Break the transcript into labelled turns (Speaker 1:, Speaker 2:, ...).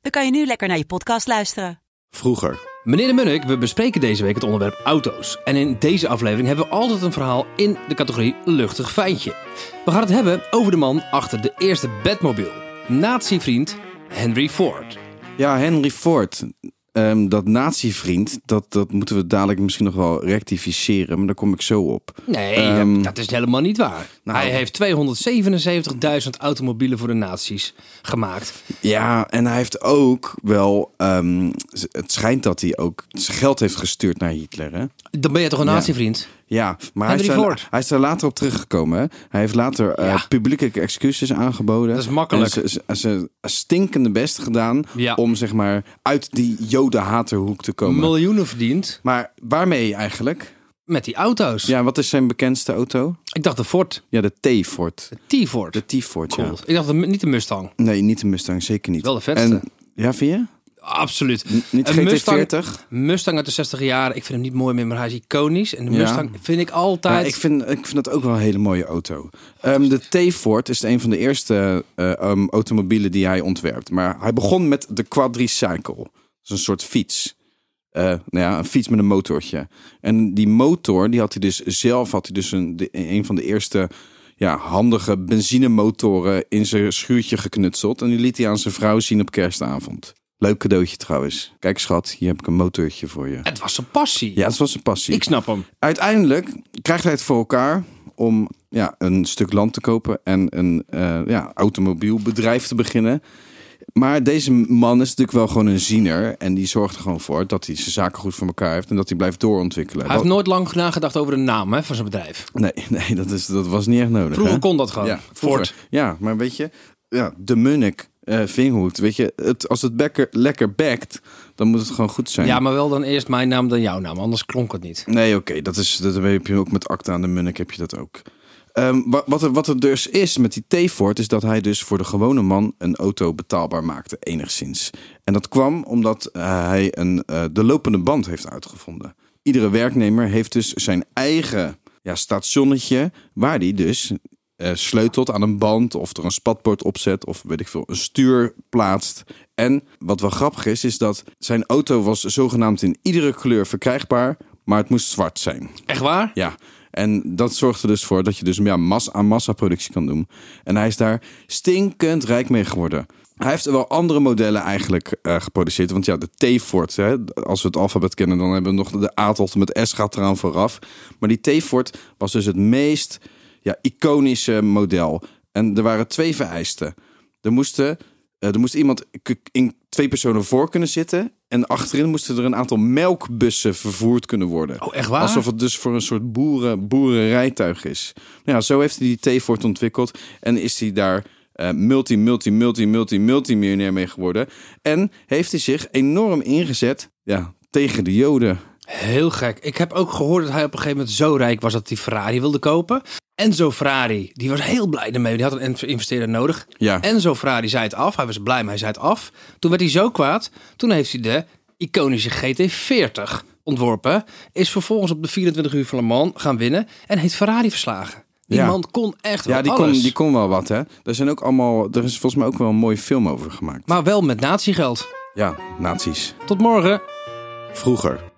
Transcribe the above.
Speaker 1: dan kan je nu lekker naar je podcast luisteren.
Speaker 2: Vroeger.
Speaker 3: Meneer de Munnik, we bespreken deze week het onderwerp auto's. En in deze aflevering hebben we altijd een verhaal in de categorie luchtig feintje. We gaan het hebben over de man achter de eerste Batmobile. Nazi-vriend Henry Ford.
Speaker 2: Ja, Henry Ford. Ehm, dat nazi-vriend, dat, dat moeten we dadelijk misschien nog wel rectificeren. Maar daar kom ik zo op.
Speaker 3: Nee,
Speaker 2: Ehm,
Speaker 3: dat is helemaal niet waar.
Speaker 2: nou-
Speaker 3: Hij heeft 277.000 automobielen voor de nazi's gemaakt.
Speaker 2: Ja, en hij heeft ook wel... ehm, z- het schijnt dat hij ook zijn geld heeft gestuurd naar Hitler, hè?
Speaker 3: Dan ben je toch een nazi-vriend?
Speaker 2: Ja, maar hij is,
Speaker 3: Henry
Speaker 2: daar,
Speaker 3: Ford.
Speaker 2: hij is daar later op teruggekomen. Hè? Hij heeft later eh,
Speaker 3: Ja.
Speaker 2: publieke excuses aangeboden.
Speaker 3: Dat is makkelijk.
Speaker 2: En Ze, ze, ze stinkende best gedaan
Speaker 3: Ja.
Speaker 2: om zeg maar uit die jodenhaterhoek te komen.
Speaker 3: Miljoenen verdiend
Speaker 2: maar waarmee eigenlijk?
Speaker 3: met die auto's.
Speaker 2: Ja, wat is zijn bekendste auto?
Speaker 3: Ik dacht de Ford,
Speaker 2: Ja, de T-Ford.
Speaker 3: de T-Ford.
Speaker 2: De T-Ford,
Speaker 3: Cool.
Speaker 2: ja.
Speaker 3: Ik dacht de- niet de Mustang.
Speaker 2: Nee, niet de Mustang, zeker niet.
Speaker 3: Wel de vetste.
Speaker 2: En, ja, vind je?
Speaker 3: Absoluut.
Speaker 2: Niet
Speaker 3: Een
Speaker 2: GT40?
Speaker 3: Mustang, Mustang uit de 60 jaren. Ik vind hem niet mooi meer, maar hij is iconisch. En de
Speaker 2: Ja.
Speaker 3: Mustang vind ik altijd...
Speaker 2: Ja, ik, vind, ik vind dat ook wel een hele mooie auto. Ehm, de T-Ford is een van de eerste eh, ehm, automobielen die hij ontwerpt. Maar hij begon met de quadricycle. Dat is een soort fiets. Eh, nou ja, een fiets met een motortje. En die motor, die had hij dus zelf, had hij dus een, de, een van de eerste ja, handige benzinemotoren in zijn schuurtje geknutseld. En die liet hij aan zijn vrouw zien op kerstavond. Leuk cadeautje trouwens. Kijk schat, hier heb ik een motortje voor je.
Speaker 3: Het was zijn passie.
Speaker 2: Ja, dat was zijn passie
Speaker 3: Ik snap hem.
Speaker 2: uiteindelijk krijgt hij het voor elkaar om ja, een stuk land te kopen en een eh, ja, automobielbedrijf te beginnen. Maar deze man is natuurlijk wel gewoon een ziener. En die zorgt er gewoon voor dat hij zijn zaken goed voor elkaar heeft. En dat hij blijft doorontwikkelen.
Speaker 3: Hij heeft nooit lang nagedacht over de naam hè, van zijn bedrijf.
Speaker 2: Nee, nee dat, is, dat was niet echt nodig.
Speaker 3: Vroeger
Speaker 2: hè?
Speaker 3: kon dat gewoon.
Speaker 2: Ja,
Speaker 3: Ford.
Speaker 2: vroeger. Ja, maar weet je, ja, de munnik, eh vinghoed. Weet je, het, als het bekker, lekker bekt, dan moet het gewoon goed zijn.
Speaker 3: Ja, maar wel dan eerst mijn naam, dan jouw naam. Anders klonk het niet.
Speaker 2: Nee, oké, dat is dat heb je ook met Acta aan de Munnik heb je dat ook. Ehm, wa- wat, er, wat er dus is met die T-Fort, is dat hij dus voor de gewone man een auto betaalbaar maakte, enigszins. En dat kwam omdat eh, hij een, eh, de lopende band heeft uitgevonden. Iedere werknemer heeft dus zijn eigen ja, stationnetje, waar hij dus eh, sleutelt aan een band of er een spatbord opzet of weet ik veel, een stuur plaatst. En wat wel grappig is, is dat zijn auto was zogenaamd in iedere kleur verkrijgbaar, maar het moest zwart zijn.
Speaker 3: Echt waar?
Speaker 2: Ja. En dat zorgt er dus voor dat je dus ja, massa, aan massaproductie kan doen. En hij is daar stinkend rijk mee geworden. Hij heeft wel andere modellen eigenlijk eh, geproduceerd. Want ja, de T-Ford, hè, als we het alfabet kennen, dan hebben we nog de A tot en met S gaat eraan vooraf. Maar die T-Ford was dus het meest ja, iconische model. En er waren twee vereisten. Er, moesten, eh, er moest iemand k- in twee personen voor kunnen zitten. En achterin moesten er een aantal melkbussen vervoerd kunnen worden.
Speaker 3: Oh, echt waar?
Speaker 2: Alsof het dus voor een soort boeren, boerenrijtuig is. Nou ja, zo heeft hij die T-Fort ontwikkeld. En is hij daar eh, multi, multi, multi, multi, multi miljonair mee geworden. En heeft hij zich enorm ingezet ja, tegen de Joden.
Speaker 3: Heel gek. Ik heb ook gehoord dat hij op een gegeven moment zo rijk was dat hij Ferrari wilde kopen. Enzo Ferrari, die was heel blij ermee. Die had een in- investeerder nodig.
Speaker 2: Ja.
Speaker 3: Enzo Ferrari zei het af. Hij was blij, maar hij zei het af. Toen werd hij zo kwaad. Toen heeft hij de iconische GT40 ontworpen. Is vervolgens op de 24 uur van Le Mans gaan winnen. En heeft Ferrari verslagen. Die
Speaker 2: Ja.
Speaker 3: man kon echt wel
Speaker 2: Ja, die kon,
Speaker 3: alles.
Speaker 2: die kon wel wat, hè? Er, zijn ook allemaal, er is volgens mij ook wel een mooie film over gemaakt.
Speaker 3: Maar wel met nazi-geld.
Speaker 2: Ja, nazi's.
Speaker 3: Tot morgen.
Speaker 2: Vroeger.